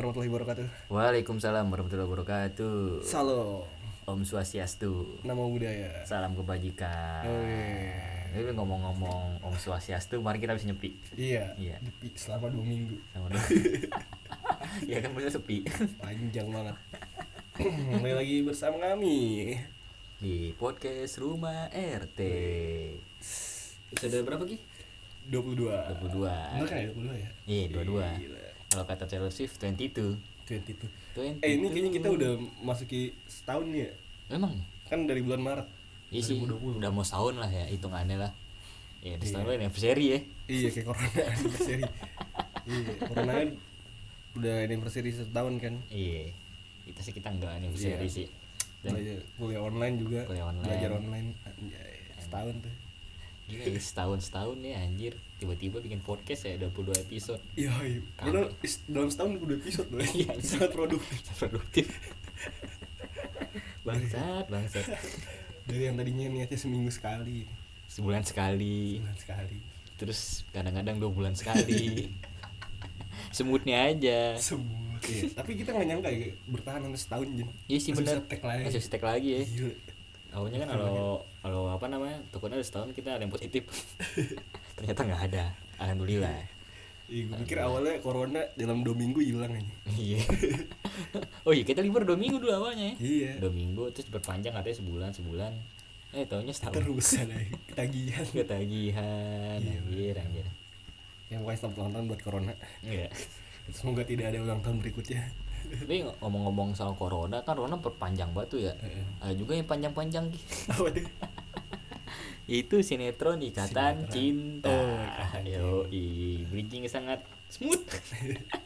Assalamualaikum. Waalaikumsalam warahmatullahi wabarakatuh. Salam. Om Swastiastu. Nama budaya. Salam kebajikan. Oh, iya. Tapi ngomong-ngomong Om Swastiastu, mari kita bisa nyepi. Iya. Iya. Depi selama dua minggu. Sama dong. ya kan bener sepi. Panjang banget. Kembali lagi bersama kami. Di podcast Rumah RT. Episode berapa Ki? 22. 22. Bener kan ya 22 ya? Iya, 22. Gila. Kalau kata Taylor Swift 22. 22. 22. Eh ini kayaknya kita udah masuki setahun nih ya. Emang Kan dari bulan Maret. Iya sih, udah mau setahun lah ya, hitungannya lah. Ya, di setahun yeah. anniversary ya. Iya kayak corona anniversary. iya, corona udah anniversary setahun kan. Iya. Kita sih kita enggak anniversary Iya. sih. Dan Belajar kuliah online juga. Kuliah online. Belajar online. Anjay, setahun tuh. Gila ya, setahun setahun nih anjir tiba-tiba bikin podcast ya 22 episode Iya, iya. Padahal is- dalam setahun udah episode loh. Iya. sangat produktif. produktif bangsat bangsat Dari yang tadinya niatnya seminggu sekali, sebulan sekali bulan sekali, terus kadang-kadang dua bulan sekali semutnya aja sebut. Iya. Tapi kita nggak nyangka ya bertahan sampai setahun Jin. iya sih Masih bener bisa tag lagi. Iya. masih bisa tag lagi ya Gila. awalnya kan kalau kalau apa namanya takutnya udah setahun kita ada yang positif ternyata nggak ada alhamdulillah Iya, gue pikir awalnya corona dalam dua minggu hilang aja. iya oh iya kita libur dua minggu dulu awalnya ya Iya. dua minggu terus berpanjang katanya sebulan sebulan eh tahunya setahun Terus ada ketagihan. Iya. ketagihan Iya, anjir anjir Ya pokoknya selamat ulang tahun buat corona. Iya. Semoga tidak ada ulang tahun berikutnya. tapi ngomong-ngomong soal corona kan corona perpanjang batu ya Heeh. ada juga yang panjang-panjang Ki. Apa tuh? itu sinetron Sinetron. ikatan cinta Oh, Ikatan yo i bridging sangat smooth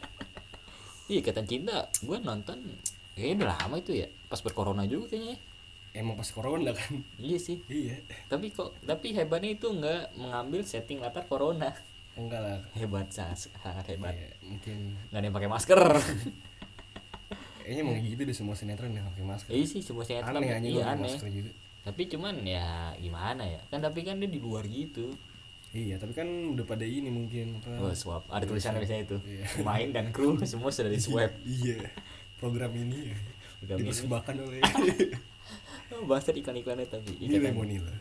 Iya, ikatan cinta gue nonton kayaknya udah lama itu ya pas bercorona juga kayaknya ya. Emang pas corona kan? iya sih Iya. tapi kok tapi hebatnya itu nggak mengambil setting latar corona Enggak lah. hebat sas sangat hebat Iya, mungkin nggak ada yang pakai masker Kayaknya emang gitu deh semua sinetron yang pakai masker. iya sih semua sinetron aneh anjing iya, iya, aneh masker juga. tapi cuman ya gimana ya kan tapi kan dia di luar gitu Iya, tapi kan udah pada ini mungkin apa? oh, swab ada tulisan biasanya itu Hmm. Iya. pemain dan kru semua sudah di swab Iya. Program ini ya. Program ini. dipersembahkan oleh Iya. oh, bahasa iklan iklannya tapi Nilai ikatan Monila.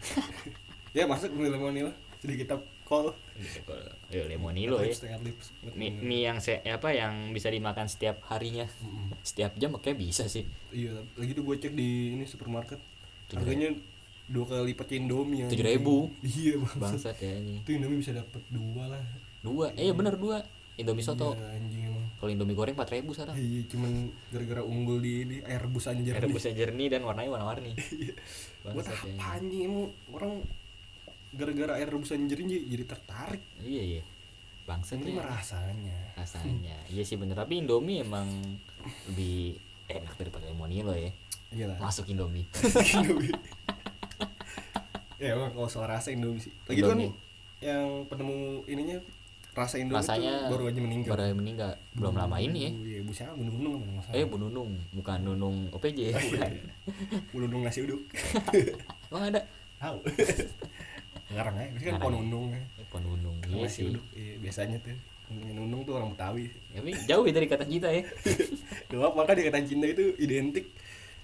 ya masuk Nilai Monila. Jadi kita call. Iya, Yo, lemonilo ya Lips, tengah lips. mie, mie yang se apa yang bisa dimakan setiap harinya Mm-mm. setiap jam kayak bisa sih Iya, lagi tuh gue cek di ini supermarket. Tujuh Harganya dua kali lipat Indomie. anjing. 7.000. Iya, bang. bangsat ya ini Itu Indomie bisa dapat dua lah. dua eh bener dua indomie soto Iya, anjing emang. kalau indomie goreng empat ribu sekarang Iya, cuman gara-gara unggul di ini air bus anjir. Air rebusnya jernih dan warnanya warna-warni. Iya. buat Bangsat ya. apa anjing emang orang gara-gara air rebusan jering jadi, jadi tertarik Iya iya. Bangsat ini ya. rasanya Rasanya. Iya sih bener tapi Indomie emang lebih enak daripada Lemonilo ya. iya lah Masuk Indomie. Indomie. ya emang kalau soal rasa Indomie sih lagi itu kan Indomie. yang penemu ininya rasa Indomie Rasanya tuh baru aja meninggal Baru aja meninggal. Belum lama ini ya. Iya, Bu Syah, Bu Nunung kalau nggak salah. Eh Bu Nunung, bukan Nunung OPJ Oh, iya. bukan. Bu Nunung nasi uduk. Emang ada? Tahu. Ngarang aja, biasanya kan Ngarang Pon ya. Nunung ya. Eh, Pon Nunung. Iya Nasi sih. uduk, iya, biasanya tuh. Nunung tuh orang Betawi. Tapi jauh ya dari kata cinta ya. Doa maka dikatakan cinta itu identik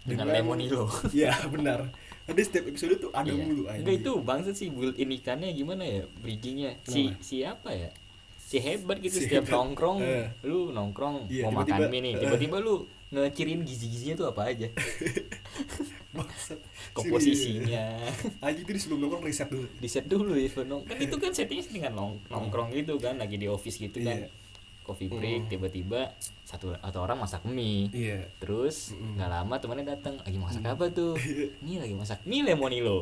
Dengan Lemonilo. Iya benar. Ada setiap episode tuh ada Iya. mulu aja. Enggak itu bangsa sih build ini ikannya gimana ya bridgingnya si Kenapa? siapa ya si hebat gitu Si setiap hebat. nongkrong Eh. lu nongkrong Iya, mau tiba-tiba, makan mie nih eh. tiba-tiba lu ngecirin gizi-gizinya tuh apa aja Maksud- komposisinya Aji Iya. itu di sebelum nongkrong riset dulu. Hmm. di set dulu ya sebelum nong- kan itu kan settingnya dengan nong- nongkrong gitu kan lagi di office gitu Iya. kan coffee Mm. break tiba-tiba satu atau orang masak mie Iya. Hmm. Terus nggak lama temannya datang lagi masak apa tuh? Iya. Ini lagi masak mie lemonilo.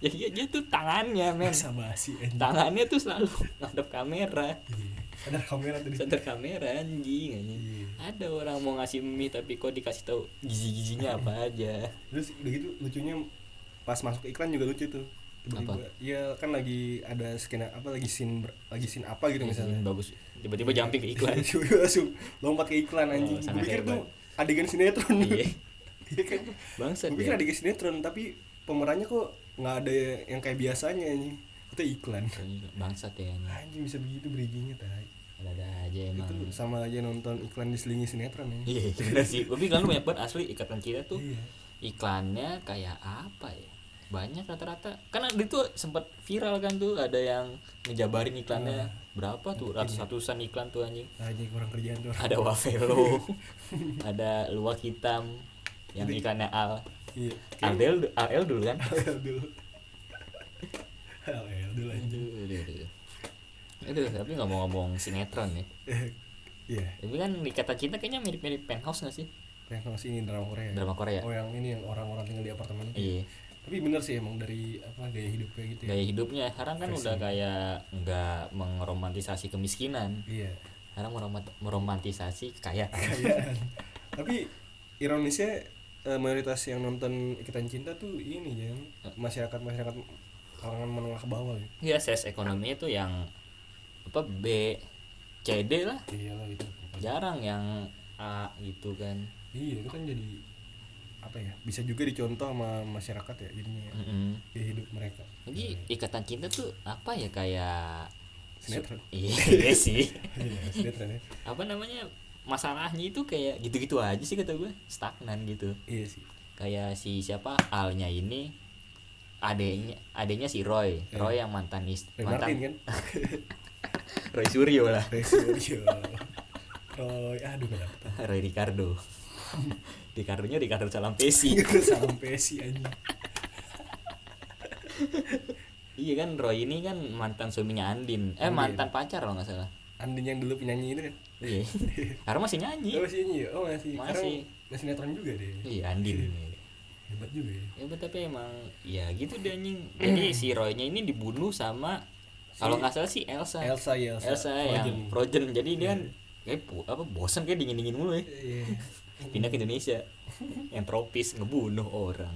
Jadi dia, dia tuh tangannya men, Masa basi anjing. tangannya tuh selalu ngadep kamera, Iya. Ada kamera tadi. center kamera anjing anjing. Iya. Ada orang mau ngasih mie tapi kok dikasih tahu gizi-gizinya apa aja. Terus udah gitu lucunya pas masuk ke iklan juga lucu tuh. Tiba-tiba ya kan lagi ada skena apa lagi scene ber- lagi scene apa gitu Ini misalnya. bagus. Tiba-tiba Iya. jumping ke iklan. Oh, Tiba-tiba langsung lompat ke iklan anjing. Gue sangat pikir hebat. tuh adegan sinetron. Iya. Iya kan? Bangsat Gue pikir ya. adegan sinetron tapi pemerannya kok nggak ada yang kayak biasanya ini. Itu iklan. Bangsat ya. ini. Anjing bisa begitu bridgingnya tay. ada aja emang itu sama aja nonton iklan diselingi sinetron ya Nah. iya bener sih tapi iklan lu banyak banget asli ikatan Cina tuh iya iklannya kayak apa ya banyak rata-rata karena itu sempat viral kan tuh ada yang ngejabarin iklannya Iya. berapa tuh ya. ratus-ratusan iklan tuh anjing aja kurang kerjaan tuh orang. ada Wafelo ada luwak hitam yang iklannya al iya Aldel al dulu kan LL dulu LL dulu aja aduh, aduh, aduh. aduh tapi nggak mau ngomong sinetron ya iya tapi kan di kata cinta kayaknya mirip-mirip penthouse nggak sih yang kelas ini drama Korea drama Korea ya. oh yang ini yang orang-orang tinggal di apartemen iya tapi bener sih emang dari apa gaya hidup kayak gitu ya gaya hidupnya sekarang kan Versi. udah kayak nggak mengromantisasi kemiskinan iya sekarang meromant- meromantisasi kekayaan kayaan Iya kan? tapi ironisnya eh, mayoritas yang nonton ikatan cinta tuh ini ya masyarakat masyarakat kalangan menengah ke bawah gitu ya ses ekonomi itu yang apa B C D lah iyalah Iya itu jarang yang A gitu kan iya itu kan jadi apa ya bisa juga dicontoh sama masyarakat ya jadinya ya, Mm-mm. gaya hidup mereka jadi iya. ikatan cinta tuh apa ya kayak Sinetron. iya iya sih iya sinetron ya. apa namanya masalahnya itu kayak gitu-gitu aja sih kata gue stagnan gitu iya sih kayak si siapa alnya ini adenya adenya si Roy Roy yang mantan is Iya. Roy Martin mantan kan Roy Suryo lah Roy Suryo Roy aduh gak dapet Roy Ricardo Ricardonya Ricardo Salampesi Itu sampai si anjing iya kan Roy ini kan mantan suaminya Andin eh Andin. mantan pacar kalau nggak salah Andin yang dulu penyanyi itu kan iya karena masih nyanyi oh, masih nyanyi oh masih Masih. sekarang masih netron juga deh iya Andin hebat juga ya ya bet, tapi emang ya gitu deh anjing jadi si Roynya ini dibunuh sama kalau nggak salah si Elsa Elsa ya Elsa, Elsa yang Frozen jadi dia kan kayak bu- apa bosan kayak dingin dingin mulu ya Iya. pindah ke Indonesia yang tropis ngebunuh orang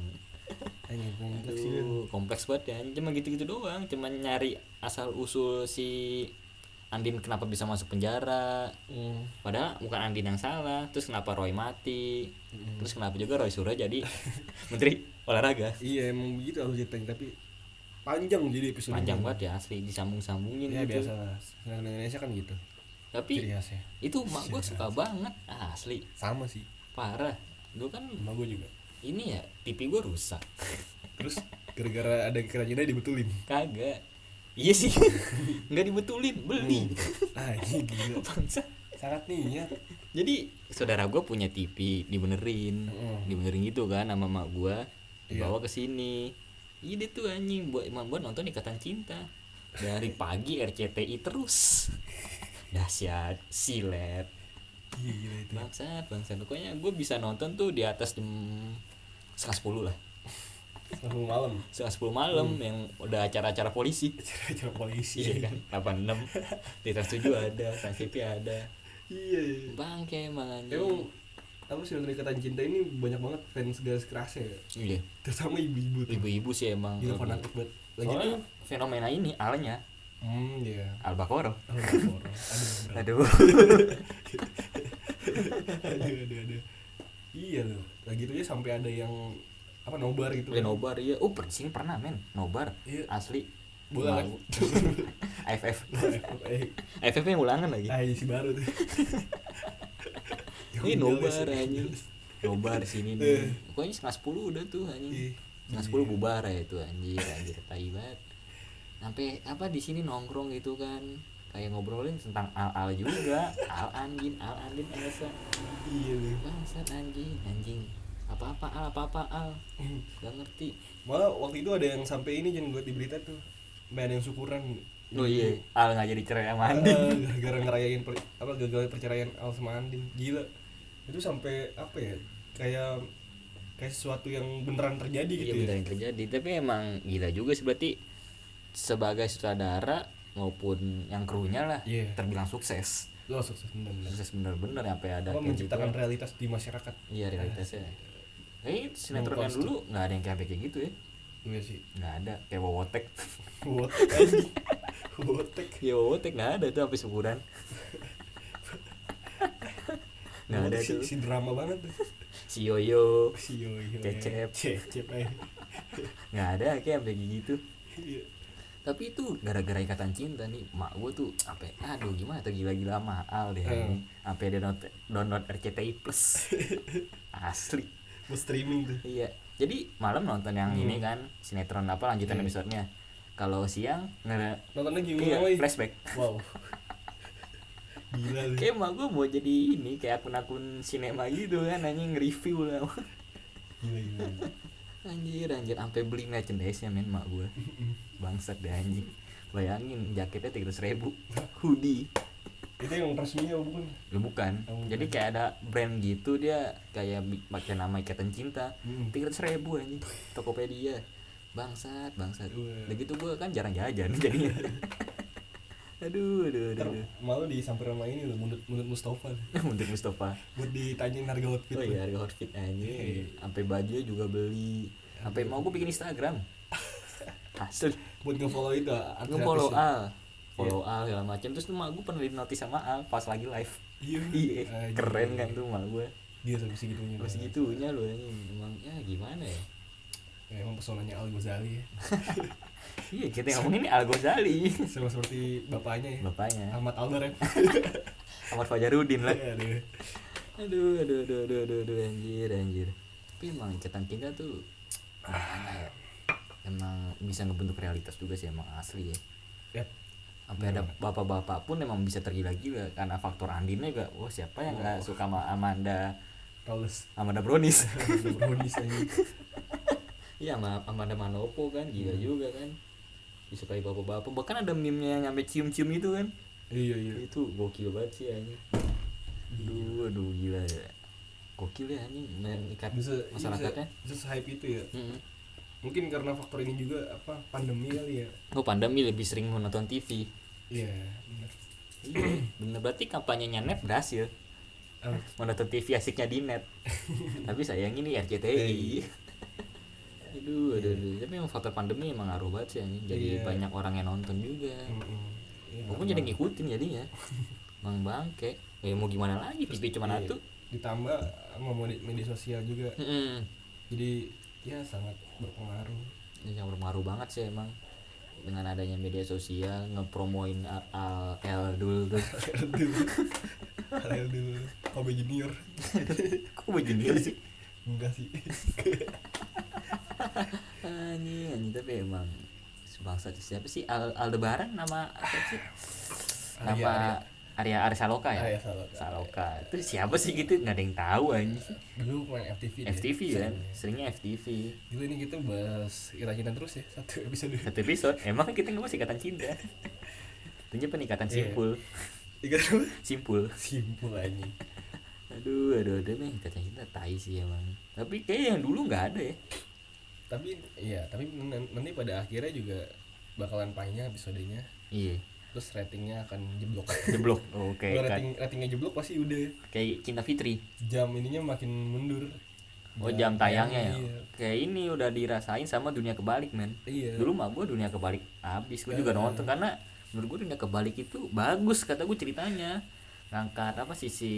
Anjing kompleks sih kan. Aduh, kompleks banget ya cuma gitu gitu doang cuma nyari asal usul si Andin kenapa bisa masuk penjara Hmm. padahal bukan Andin yang salah terus kenapa Roy mati terus kenapa juga Roy Surya jadi menteri olahraga Iya emang begitu harus ceritanya tapi panjang jadi episode panjang banget ya asli disambung sambungin Ya gitu biasa lah. Sinetron Indonesia kan gitu. tapi Ciri khasnya. itu mak gue suka banget asli Sama sih. parah dulu kan Sama gue juga. ini ya TV gue rusak Terus gara-gara ada kerajinannya dibetulin. kagak iya sih nggak dibetulin beli Ah, ini gila. ya. bangsa Sangat niat. jadi saudara gue punya TV dibenerin Mm. dibenerin gitu kan sama mak gue Iya. dibawa ke sini iya dia tuh anjing buat emang buat nonton ikatan cinta dari pagi RCTI terus dahsyat silet Iya gila itu. bangsa bangsa pokoknya gue bisa nonton tuh di atas jam setengah sepuluh lah Selalu malam. setengah sepuluh malam yang udah acara-acara polisi Acara-acara polisi. iya kan 86 di trans 7 ada trans TV ada Iya. iya. bangke emang anjing Emang apa sih nonton ikatan cinta ini banyak banget fans garis kerasnya ya. iya Terutama ibu-ibu tuh. ibu-ibu sih emang Gila Lebih- fanatik banget. Lagi soalnya tuh. fenomena ini alanya Hmm, iya. al bakoro Oh, horor. Aduh, berat. aduh aduh aduh aduh iya loh lagi itu ya sampai ada yang apa nobar gitu beli nobar iya oh persing pernah men nobar Iya. asli Bola. Mau. AFF eh AFF yang ulangan lagi ah, si baru tuh Iya. iya, ini nobar aja anjing nobar sini nih pokoknya setengah sepuluh udah tuh Iya. anjing setengah sepuluh bubar ya itu anjir anjir tai banget sampai apa di sini nongkrong gitu kan kayak ngobrolin tentang al al juga al andin al andin Elsa iya loh bangsat anjing anjing apa apa al apa apa al gak ngerti malah waktu itu ada yang sampai ini jangan buat di berita tuh Sampai ada yang syukuran oh iya al nggak jadi cerai sama andin Eh, gara-gara ngerayain per, apa gagal perceraian Al sama Andin gila itu sampai apa ya kayak kayak sesuatu yang beneran terjadi iya gitu bener ya yang terjadi tapi emang gila juga sih berarti sebagai sutradara maupun yang krunya lah Iya. terbilang sukses lo sukses bener-bener sukses bener-bener apa ya ada Apa, kayak menciptakan gitu. realitas di masyarakat iya realitasnya eh sinetron yang Mengkonsep. dulu nggak ada yang kayak kayak gitu ya Iya sih. kan. nggak ada kayak wowotek Wotek anjing. Wotek. ya wowotek nggak ada tuh habis syukuran nggak ada Wotek si, tuh si drama banget tuh. si yoyo Si Yoyo. Cecep. Cecep aja. nggak ada kayak kayak gitu Iya. tapi itu gara-gara ikatan cinta nih mak gue tuh sampai aduh gimana tuh gila-gila mahal deh Hmm. ini sampai dia download, download RCTI Plus asli Mau streaming tuh. iya jadi malam nonton yang ini kan sinetron apa lanjutan episodenya kalau siang nggak Nonton lagi iya, woi. flashback Wow. Gila sih. kayak mak gue mau jadi ini kayak akun-akun sinema gitu kan anjing review lah Gila gila. gila. anjir anjir sampai beli merchandise nya men mak gue bangsat deh anjing bayangin jaketnya tiga ribu hoodie Itu yang resminya apa bukan? Lu bukan. Oh, bukan. Jadi kayak ada brand gitu dia kayak bi- pakai nama ikatan cinta. Hmm. Tiga ribu anjing. Tokopedia. Bangsat, bangsat. Iya. Udah gitu gua kan jarang jajan jadinya. aduh, aduh, aduh. Ntar aduh. malu disamper sama ini loh, mundut mundut Mustafa nih. Untuk Mustafa. buat ditanyain harga outfit. Oh lu. iya harga outfit iya. anjing. Sampai bajunya juga beli. Sampai mau gua bikin Instagram. Hasil Buat ngefollow itu. art nge-follow ah. gratis ya. Al. Follow Al segala macam. Terus tuh mak gua pernah di notice sama Al pas lagi live. Iya. Iya, Anjing. Iya, keren kan tuh mak gua. Dia sampai segitunya. Terus segitunya lu anjing. Emang ya gimana ya? Ya, emang pesonanya Al Ghazali ya. Iya kita yang ngomongin ini Al Ghazali Sama seperti bapaknya ya. Bapaknya Ahmad Albar ya. Ahmad Fajarudin lah Iya, dia. Aduh aduh aduh aduh aduh, aduh, anjir anjir Tapi emang ikatan cinta tuh Ah. gimana ya? Emang bisa ngebentuk realitas juga sih emang asli ya Yap. Sampai ada bapak-bapak pun emang bisa tergila-gila Karena Ah, faktor Andinnya juga Wah siapa yang gak suka sama Amanda Paulus. Amanda Brownies Brownies aja. Iya sama Amanda Manopo kan Gila juga kan Disukai bapak-bapak Bahkan ada meme-nya yang nyampe cium-cium itu kan Iya iya. itu gokil banget sih anjing aduh aduh gila ya gokil ya anjing mengikat Bisa masyarakatnya Bisa, bisa hype itu ya. Mm-mm. Mungkin karena faktor ini juga apa pandemi kali ya. oh pandemi lebih sering menonton TV Iya. benar. Iya, bener berarti kampanyenya net berhasil Apa? menonton TV asiknya di net tapi sayang ini RCTI Iya. aduh aduh, aduh. tapi emang faktor pandemi emang ngaruh banget sih anjing jadi Iya. banyak orang yang nonton juga Mm-mm. Iya, Gua pun jadi ngikutin jadinya bang bangke ya mau gimana lagi TV cuma Iya. satu Ditambah sama medi- media sosial juga. Mm-mm. Jadi ya sangat berpengaruh. Ini yang berpengaruh banget sih emang dengan adanya media sosial ngepromoin A- A- L dulu tuh. Harel dulu. Harel dulu. Kobe Junior. Kok begini sih? Enggak sih. Anjing, anjing tapi emang sebangsa tuh siapa sih Al Aldebaran nama apa sih? Nama Arya Arya Saloka ya? Arya Saloka. Saloka. Itu siapa sih gitu nggak ada yang tahu anjing. Dulu main FTV. deh. FTV kan, seringnya FTV. Gila ini kita bahas Irajina terus ya satu episode. Satu episode, emang kan kita nggak masih ikatan cinta. Tentunya peningkatan Iya. simpul, Tiga terus. simpul. Simpul aja. Aduh, aduh, aduh nih kata kita tai sih emang. Tapi kayak yang dulu nggak ada ya. Tapi iya, tapi nan- nanti pada akhirnya juga bakalan panjang episodenya. Iya, Terus ratingnya akan jeblok. jeblok. Oke, Kalau kan. rating ratingnya jeblok pasti udah kayak Cinta Fitri. jam ininya makin mundur. Oh, jam tayangnya ya. Iya. Kayak ini udah dirasain sama dunia kebalik, men. Iya. Dulu mah gua dunia kebalik habis. Gua juga Eh. nonton karena menurut gua dunia kebalik itu bagus kata gua ceritanya. Ngangkat apa sisi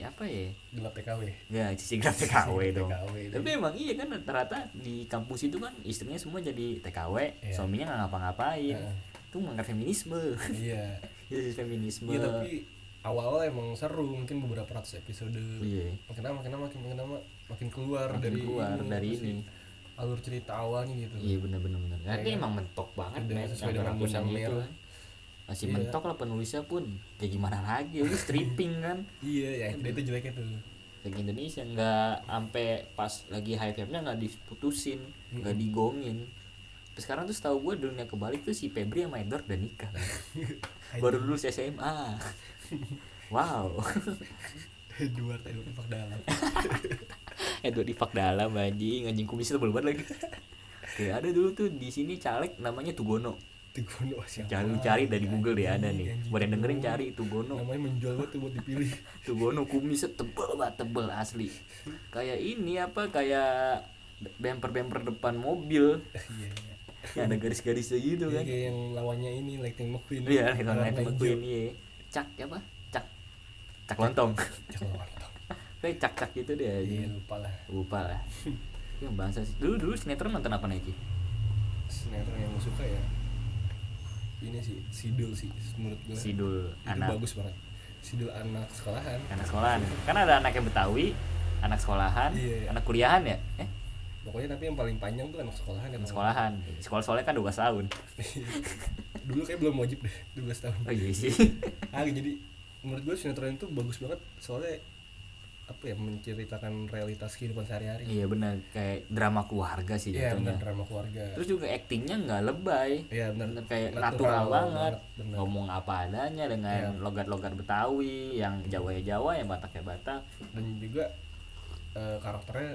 apa ya? gelap TKW. Ya, sisi grafik TKW dong. TKW itu. Tapi emang iya kan rata-rata di kampus itu kan istrinya semua jadi TKW, Iya. suaminya nggak ngapa-ngapain. Heeh. Itu mengangkat feminisme. Iya. Iya sih, feminisme. Iya tapi awal-awal emang seru mungkin beberapa ratus episode. Iya. Makin lama makin lama makin makin lama makin keluar Makin dari keluar dari terus ini. alur cerita awalnya gitu. Iya benar benar benar. Tapi emang mentok banget Udah men sesuai sampai dengan ratusan thumbnail. gitu kan. Masih Iya. mentok lah penulisnya pun. Ya gimana lagi lu stripping kan. Iya, ya akhirnya itu jeleknya tuh. Kayak Indonesia nggak sampai pas lagi high nya nggak diputusin, nggak digongin. Terus sekarang tuh setahu gue dunia kebalik tuh si Febri sama Edward udah nikah. kan? Baru lulus SMA. Wow, Edward, Edward Pak Dalam. Edward dipak dalam anjing, anjing kumisnya tebel banget lagi. Oke, ada dulu tuh di sini caleg namanya Tugono. Itu gono siapa? Cari cari dari Google deh ada nih. Anjing, Buat yang dengerin anjing. cari Tugono. Namanya menjual banget tuh buat dipilih. Tuh Bono kumisnya tebel banget tebel asli. Kayak ini apa kayak bemper-bemper depan mobil Iya. iya. yang ada garis-garisnya gitu Iya, gitu. kan. kayak yang lawannya ini Lightning McQueen. Iya, itu Warna itu hijau. McQueen iya. Cak apa? Cak. Cak lontong. Jangan mantap. Kayak cak-cak gitu deh. Iya, anjing. lupa lah. Lupa lah. Yang bangsa sih. Dulu dulu sinetron nonton apa nih? Ki? Sinetron yang lu suka ya. ini sih sidul sih menurut gue sidul Iya. itu anak bagus banget sidul anak sekolahan anak sekolahan kan ada anak yang betawi anak sekolahan Iya. anak kuliahan ya eh pokoknya tapi yang paling panjang tuh anak sekolahan ya anak Bang. sekolahan sekolah soalnya kan 12 tahun dulu kayak belum wajib deh 12 tahun oh iya sih ah jadi menurut gue sinetron itu bagus banget soalnya apa ya menceritakan realitas kehidupan sehari-hari iya benar kayak drama keluarga sih iya jatuhnya. benar drama keluarga terus juga aktingnya nggak lebay iya benar Bener, kayak natural, banget, benar ngomong apa adanya dengan Iya. logat-logat Betawi yang Jawa ya Jawa yang Batak ya Batak dan juga eh, karakternya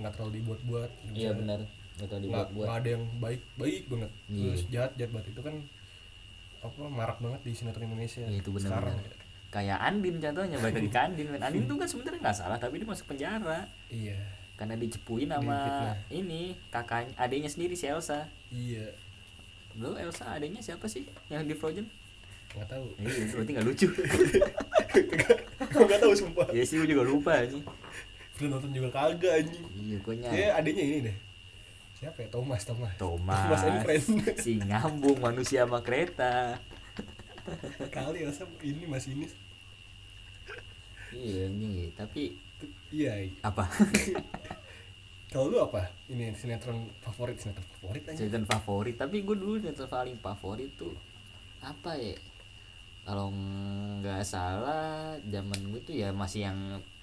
nggak terlalu dibuat-buat Iya, Iya, Misalnya, betul nggak nggak ada yang baik baik banget Iya. terus jahat jahat banget itu kan apa marak banget di sinetron Indonesia Iya, itu benar-benar. sekarang kayak Andin contohnya balik lagi ke Andin men. Andin tuh kan sebenarnya nggak salah tapi dia masuk penjara iya karena dicepuin iya. sama Difitnah. ini kakaknya adiknya sendiri si Elsa iya lu Elsa adiknya siapa sih yang di Frozen nggak tahu Eh, iya, berarti nggak lucu nggak tahu sumpah ya sih gue juga lupa anjing belum nonton juga kagak anjing iya gue dia adanya ini deh siapa ya Thomas Thomas Thomas Thomas and Friends si nyambung manusia sama kereta kali Elsa ini masih ini iya anjing tapi iya apa kalau lu apa ini sinetron favorit sinetron favorit aja sinetron favorit tapi gue dulu sinetron paling favorit tuh apa ya kalau nggak salah zaman gue tuh ya masih yang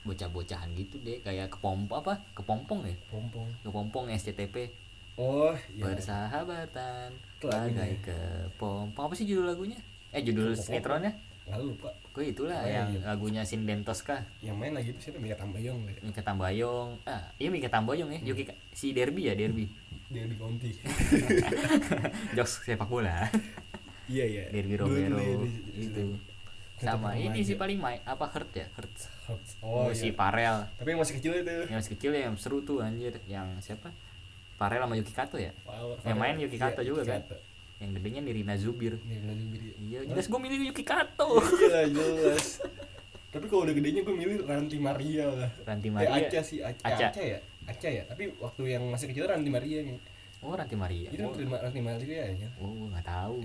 bocah-bocahan gitu deh kayak kepomp apa kepompong ya pompong kepompong SCTP oh iya bersahabatan Itu lagunya. bagai kepompong apa sih judul lagunya eh judul Kepompong. sinetronnya lalu lupa gue itulah Oh, iya, yang iya. lagunya Sinden Tosca yang main lagi itu siapa Mika Tambayong deh Mika Tambayong ah iya Mika Tambayong Hmm. ya Yuki si Derby ya Derby dia di Conti Hmm. jokes sepak bola iya iya Derby Dulu Romero dia di- itu Tetap sama remaja. ini sih paling main apa hurt ya hurt oh iya si Parel tapi yang masih kecil itu yang masih kecil yang seru tuh anjir yang siapa Parel sama Yuki Kato ya Wow, Yang main padahal- Yuki iya, Kato juga, kan? Kato. yang gedenya Nirina Zubir Ini lagi gede. iya Hah? jelas gue milih Yuki Kato Iya, jelas tapi kalau udah gedenya gue milih Ranti Maria lah Ranti Eh, Maria Aca sih, Aca. Aca. Aca. Aca ya? Aca ya? Tapi waktu yang masih kecil Ranti Maria nih. oh Ranti Maria Itu Iya, oh Ranti, Ma- Ranti Maria ya. oh, gue nggak tahu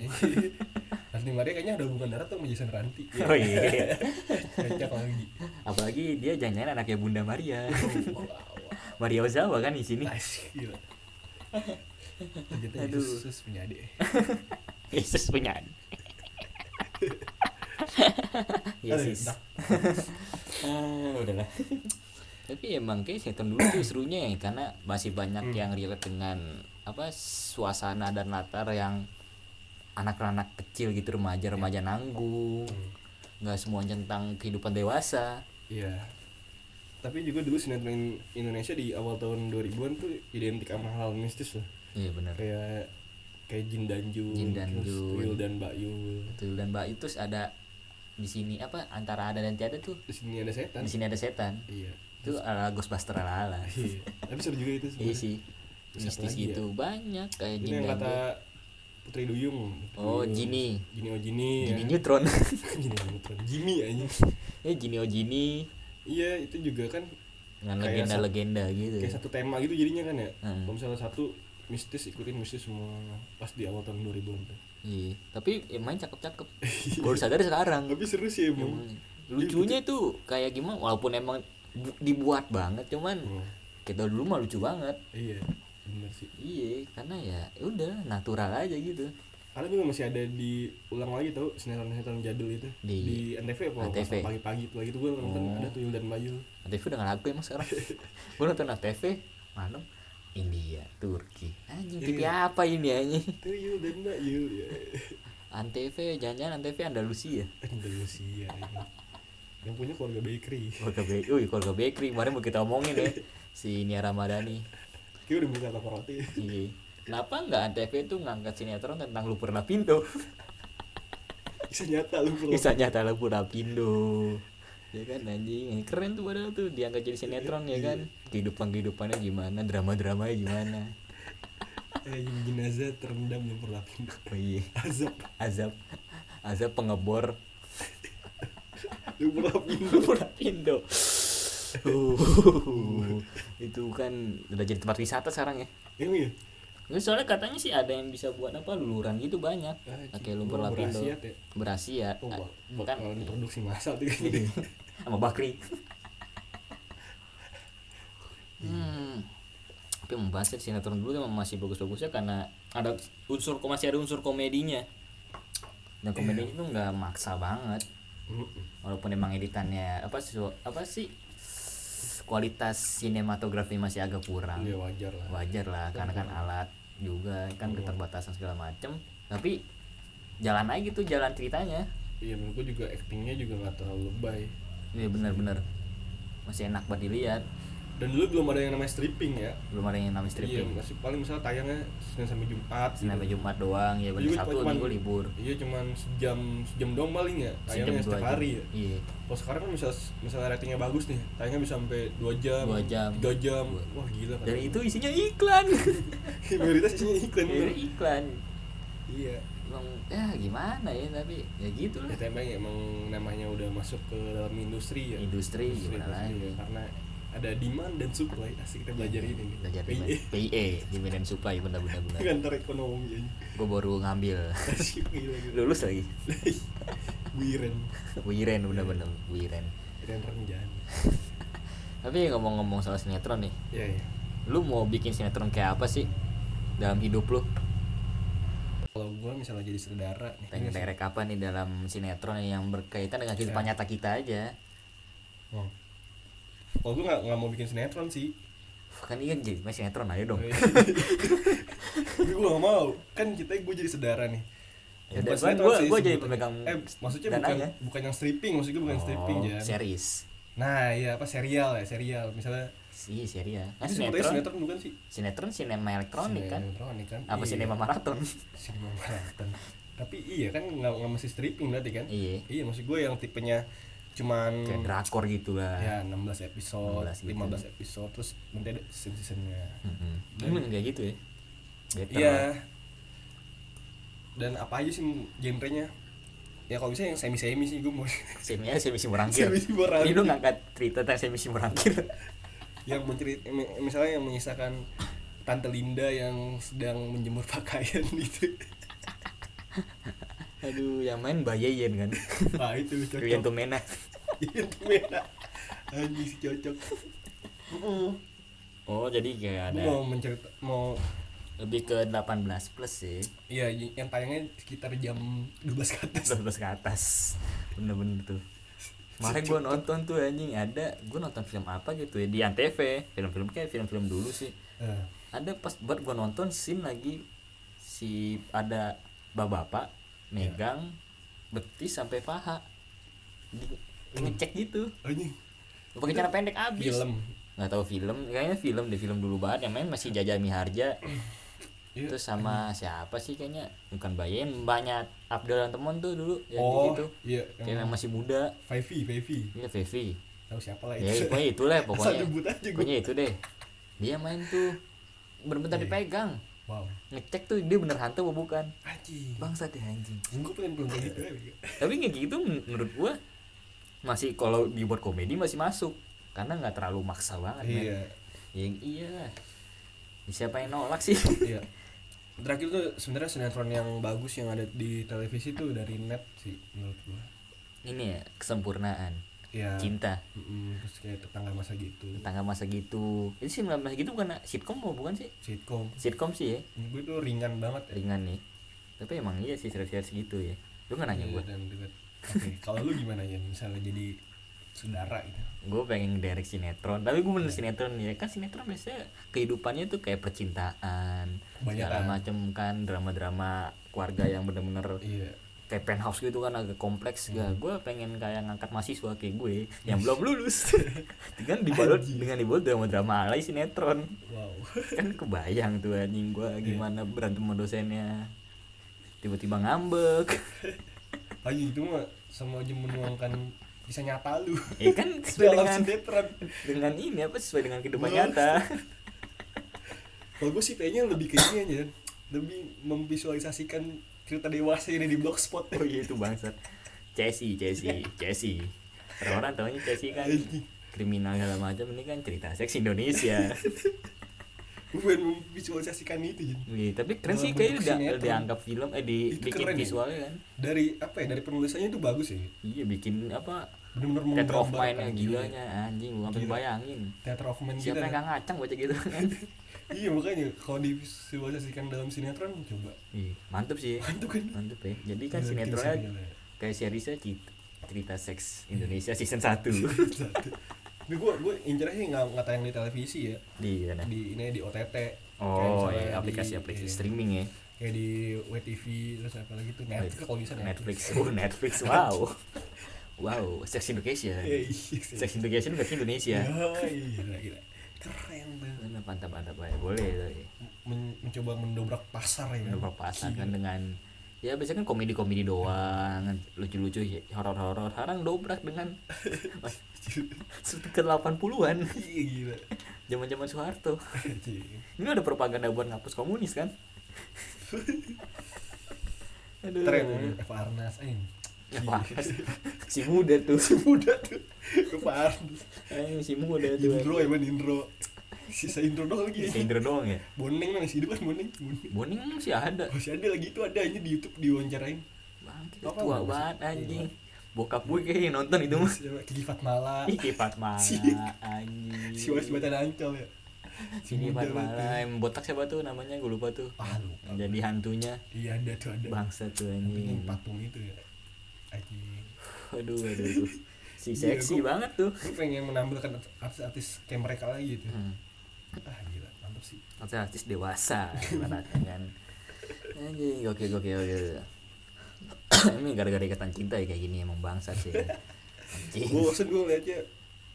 Ranti Maria kayaknya ada hubungan darah tuh sama Jason Ranti. Ya. oh iya Kocak lagi. apalagi dia janjian anaknya Bunda Maria Wow, wow. Maria Ozawa kan di sini Nice, gila. Ternyata Aduh. Yesus punya adik. Yesus punya adik. Yesus Aduh, ah, udahlah tapi emang kayak sinetron dulu tuh serunya ya karena masih banyak Hmm. yang relate dengan apa suasana dan latar yang anak-anak kecil gitu remaja Ya. remaja nanggung Hmm. nggak semua tentang kehidupan dewasa Iya. Tapi juga dulu sinetron Indonesia di awal tahun 2000-an tuh identik sama hal mistis loh. iya benar Kayak kayak Jin Danjun, Jin dan terus Jun. Tuyul dan Mbak Yul. betul dan mbak itu ada di sini apa antara ada dan tiada tuh Di sini ada setan. di sini ada setan Iya. itu ala Ghostbuster ala ala Iya. Tapi seru juga itu iya sebenarnya. sih Terus apa mistis lagi ya? itu banyak kayak Ini jin yang dan kata Putri Duyung. Putri Oh, Duyung. Jini. Jini oh Jini. Jini ya. Neutron Jini Neutron. Jimmy aja. ya Jini oh Jini Iya, itu juga kan dengan Kayak legenda-legenda gitu kayak satu tema gitu jadinya kan ya. Hmm. Kalau misalnya satu mistis ikutin mistis semua pas di awal tahun 2000-an. tuh. iya tapi yang main cakep-cakep Iya. baru sadar sekarang Tapi seru sih emang. Iya, lucunya tuh kayak gimana walaupun emang bu- dibuat banget cuman Hmm. kita dulu mah lucu banget Iya, bener sih. iya karena ya udah natural aja gitu Ada juga masih ada diulang lagi tau sinetron-sinetron jadul itu Di- di, NTV apa NTV. pas pagi-pagi tuh lagi tuh gue nonton Oh. ada Tuyul dan Bayul. ATV Nah, udah gak laku emang sekarang gue nonton ATV malam India Turki anjing TV Iya. apa ini anjing Tuyul dan Bayul. Ya. Antv jangan-jangan Antv Andalusia Indonesia. ini. ya. Yang punya keluarga bakery. keluarga bakery Uy, keluarga bakery kemarin mau kita omongin ya si Nia Ramadhani Kita udah buka toko roti. Iya. kenapa nggak Antv itu ngangkat sinetron tentang Lupur Lapindo Bisa nyata lu bro. kisah nyata Lupur Lapindo ya kan anjing keren tuh padahal tuh diangkat jadi sinetron ya kan kehidupan kehidupannya gimana drama dramanya gimana Eh, jenazah terendam yang berlapin. oh iya Azab azab azab pengebor yang berlapin. Lupur Lapindo Uh, itu kan udah jadi tempat wisata sekarang ya Emang ya? Nggak, soalnya katanya sih ada yang bisa buat apa luluran gitu banyak Ah, pakai lu lumpur lapindo berasiat ya? berasiat Oh, bak- kan bakalan produksi massal tuh kayak Iya. gini. sama bakri hmm. tapi membahas sinetron dulu emang masih bagus-bagusnya karena ada unsur masih ada unsur komedinya dan komedinya itu nggak maksa banget Mm-mm. walaupun emang editannya apa sih apa sih kualitas sinematografi masih agak kurang Iya wajar lah. wajar lah karena kan alat juga kan keterbatasan segala macem tapi jalan aja gitu jalan ceritanya Iya menurut gua juga actingnya juga nggak terlalu lebay. iya bener-bener masih enak buat dilihat Dan dulu belum ada yang namanya stripping ya. belum ada yang namanya stripping Iya masih paling misalnya tayangnya Senin sampai Jumat. gitu. Senin sampai Jumat doang ya bener Iya, Sabtu cuman- minggu libur Iya cuman sejam sejam doang paling ya. sejam Tayangnya dua setiap jam hari ya. iya Kalau sekarang kan misal misalnya ratingnya bagus nih, tayangnya bisa sampai 2 jam, Dua jam. 3 jam. Dua. Wah, gila kan. dan itu isinya iklan mayoritas isinya iklan bener. Iya, iklan Iya. emang ya gimana ya tapi ya gitu lah Ya tembang emang namanya udah masuk ke dalam industri ya. Industri, gimana pasti lagi. Iya, ya, Karena ada demand dan supply. Asik kita belajar ini E. nih. Iya. belajar di PIE. PIE demand and supply benda-benda benar Kantor ekonomi aja. gue baru ngambil Asik gila gila. lulus lagi Wiren. Wiren bener-bener Wiren Wiren Renjan. tapi ngomong-ngomong soal sinetron nih Iya iya. lu mau bikin sinetron kayak apa sih dalam hidup lu Kalau gua misalnya jadi saudara nih. iya pengen ini- direct apa nih dalam sinetron yang berkaitan dengan Iya. kehidupan nyata kita aja Hmm. Kalau gua nggak nggak mau bikin sinetron sih. Iya. kan iya jadi mas sinetron aja dong Tapi gue gak mau Kan kita gue jadi saudara nih Ya Bukan udah, sinetron gua- sih gua jadi sebutannya. pemegang Eh maksudnya bukan, dananya. bukan yang stripping Maksudnya bukan stripping ya Oh, series Nah iya apa serial ya Serial misalnya iya series ya kan Itu sebetulnya sinetron sinetron bukan sih sinetron sinema elektronik kan Sinetron kan apa Iya. sinema maraton Sinema maraton Tapi iya kan gak, nggak mesti stripping berarti kan iya Iya maksud gue yang tipenya Cuman kayak drakor gitu lah Ya 16 episode 16 gitu. 15 episode Terus nanti ada season-seasonnya Mm-mm. Dan- Emang kayak gitu ya Better lah. Iya. Dan apa aja sih genrenya? Ya kalau bisa yang semi-semi sih gue mau. semi aja semi simurangkir Semi simurangkir. ini lu ngangkat cerita tentang semi simurangkir yang mencerit em- misalnya yang mengisahkan Tante Linda yang sedang menjemur pakaian gitu. aduh yang main Mbak Yeyen kan Nah, itu lu cocok. Rian Tumena Rian Tumena. Anjing sih cocok. oh jadi kayak Gue ada mau mencerita mau lebih ke 18 plus sih Iya, y- yang tayangnya sekitar jam 12 ke atas. 18 ke atas bener-bener tuh kemarin gue nonton tuh anjing ada gue nonton film apa gitu ya di antv film-film kayak film-film dulu sih Eh, ada pas buat gue nonton scene lagi si ada bapak-bapak megang Iya. betis sampai paha di ngecek gitu anjing pakai cara pendek abis Hmm. film. nggak tahu film kayaknya film deh film dulu banget yang main masih Jaja Miharja Iya. terus sama siapa sih kayaknya bukan Bayen banyak Abdul dan temen tuh dulu yang oh, gitu iya, kayak yang yang masih muda Fifi, Fifi. ini Fevi Tahu siapa lah ya Nah, itu? pokoknya itulah Asal pokoknya nyebut aja gue. pokoknya itu deh dia main tuh bener-bener Iya. dipegang Wow. ngecek tuh dia bener hantu apa bukan Aji. bangsa deh anjing Gue pengen belum kayak gitu ya. tapi kayak gitu men- menurut gua masih kalau dibuat komedi masih masuk karena nggak terlalu maksa banget men. Iya. Ya, iya lah. Siapa yang nolak sih? Iya. Terakhir tuh sebenarnya sinetron yang bagus yang ada di televisi tuh dari net sih menurut gua. Ini ya kesempurnaan, Iya. cinta, Mm-mm, terus kayak tetangga masa gitu. tangga masa gitu. Itu sih masa gitu bukan sitkom apa bukan sih? Sitkom. Sitkom sih ya, Menurut Gue tuh ringan banget ya. ringan nih. Tapi emang iya sih serius-serius gitu ya. Lu kan nanya Iya, gua. Dan ribet. Oke, kalau lu gimana ya misalnya jadi saudara gitu. Gue pengen direct sinetron, tapi gue bener Iya. sinetron ya kan sinetron biasanya kehidupannya tuh kayak percintaan, segala Kebanyakan. macem kan drama-drama keluarga yang bener-bener Iya. kayak penthouse gitu kan agak kompleks gak gue pengen kayak ngangkat mahasiswa kayak gue Iya. yang belum lulus dengan dibalut dengan dibalut drama drama alay sinetron Wow. kan kebayang tuh anjing gue Iya. gimana berantem sama dosennya tiba-tiba ngambek Pagi itu mah sama aja menuangkan bisa nyata lu ya kan sesuai dalam dengan sinetron. dengan ini apa sesuai dengan kehidupan Belum. nyata Kalau gue sih kayaknya lebih ke ini aja lebih memvisualisasikan cerita dewasa ini di blogspot oh iya itu bangsat Chelsea Chelsea Chelsea orang-orang tahunya Chelsea kan kriminal segala macam ini kan cerita seks Indonesia bukan memvisualisasikan itu ya. Iya, tapi keren sih Dalam kayaknya bentuk udah sinetron. dianggap film eh di, Itu bikin keren ya. visualnya kan. dari apa ya dari penulisannya itu bagus ya Iya, bikin apa? benar-benar Theater of menggambarkan mind-nya gilanya anjing, gua sampai Gila. bayangin. theater of mind Siapa kita ya. yang gak ngacang baca gitu kan? iya makanya kalau divisualisasikan dalam sinetron coba Iya, mantep sih. mantap kan Mantep ya. Jadi kan Gila, sinetronnya gila, ya. gila. kayak seriesnya cerita, cerita seks Indonesia season 1 Satu. Tapi gue gue incernya sih nggak nggak tayang di televisi ya di mana? di ini di OTT. Kayak Oh, misalnya iya, di- aplikasi-aplikasi iya, streaming ya. Kayak di WTV terus apa lagi tuh Netflix kalau bisa Netflix. Oh, Netflix. Wow. wow, Sex Education. Iya, iya, Sex Education versi Indonesia. Yoi, gila, gila. Keren banget. Bener, mantap-mantap aja. Boleh. Iya. boleh. Men- mencoba mendobrak pasar ya. Udah berpasangan kan dengan ya biasanya kan komedi-komedi doang, lucu-lucu, ya, horor-horor, harang dobrak dengan ke 80-an, Iya gila. zaman-zaman Soeharto. Anjing. Ini ada propaganda buat ngapus komunis kan? Aduh. Ntar yang ngomong iya. Eva Arnas eh. Ya, panas. si muda tuh, Si muda tuh. Eva Arnas. Eh, si muda tuh. Indro emang Indro. Sisa Indro doang lagi. Si Indra doang ya. Boneng mana sih hidup kan Boneng. Boneng. Boning masih ada. Masih ada lagi itu ada aja di YouTube diwawancarain. Bangkit Apa tua masih- banget iya. anjing. Bokap gue kayaknya yang nonton itu mas. Kiki Fatmala. Ih, kipat malah Si- anjing. Si Wali Jembatan Ancol ya. Si Sini muda Pat banget. malah yang botak siapa tuh namanya gue lupa tuh. Ah lupa. Yang Jadi hantunya Iya ada tuh ada. bangsa tuh Tapi yang anjing. patung itu ya. Anjing. Aduh aduh. aduh. Si Iya, seksi gua- banget tuh. Gue pengen menampilkan artis-artis kayak mereka lagi gitu. Hmm. Ah gila, mantap sih. Artis dewasa ibaratnya kan. Anjing oke oke oke. Ini gara-gara ikatan cinta ya kayak gini emang bangsa sih. Gue Anjing. bosen gue liatnya ya,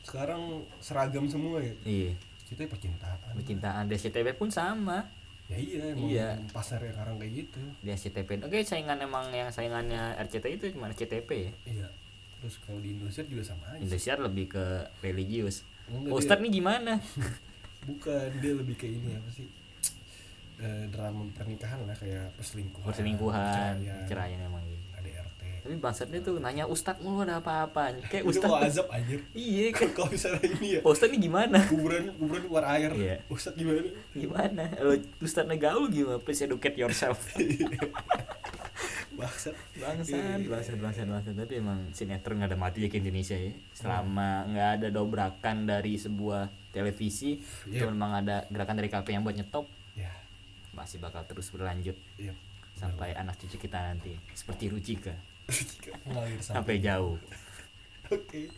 sekarang seragam semua ya. Iya, Kita percintaan. percintaan DCTP pun sama. Ya iya, emang Iya. pasarnya sekarang kayak gitu. Di SCTP. Oke, saingan emang yang saingannya RCTI itu cuma RCTP ya. Iya. Terus kalau di Indonesia juga sama aja. Indonesia lebih ke religius. Enggak, dia- Oh, Ustadz nih gimana? Bukan, dia lebih ke ini apa sih? Eh, drama pernikahan lah kayak perselingkuhan. Perselingkuhan, perceraian, ceraian emang gitu. ADRT. Tapi bangsatnya tuh nanya Ustadz mulu ada apa-apa. Kayak Itu mau Ustadz. azab anjir. Iya kan. kalau misalnya ini ya, Pak Ustadz nih gimana? kuburan kuburan keluar air. Iya. Ustaz gimana? Gimana? Lo Ustadz gaul gimana? Please educate yourself. Bangsat. Bangsat, bangsat, bangsat, bangsat. Tapi emang sinetron nggak ada mati ya ke Indonesia ya. Selama nggak ada dobrakan dari sebuah televisi, Iya. cuma memang ada gerakan dari KP yang buat nyetop, Ya. masih bakal terus berlanjut Iya. sampai anak cucu kita nanti seperti Rucika Mengalir sampai. sampai jauh. Oke.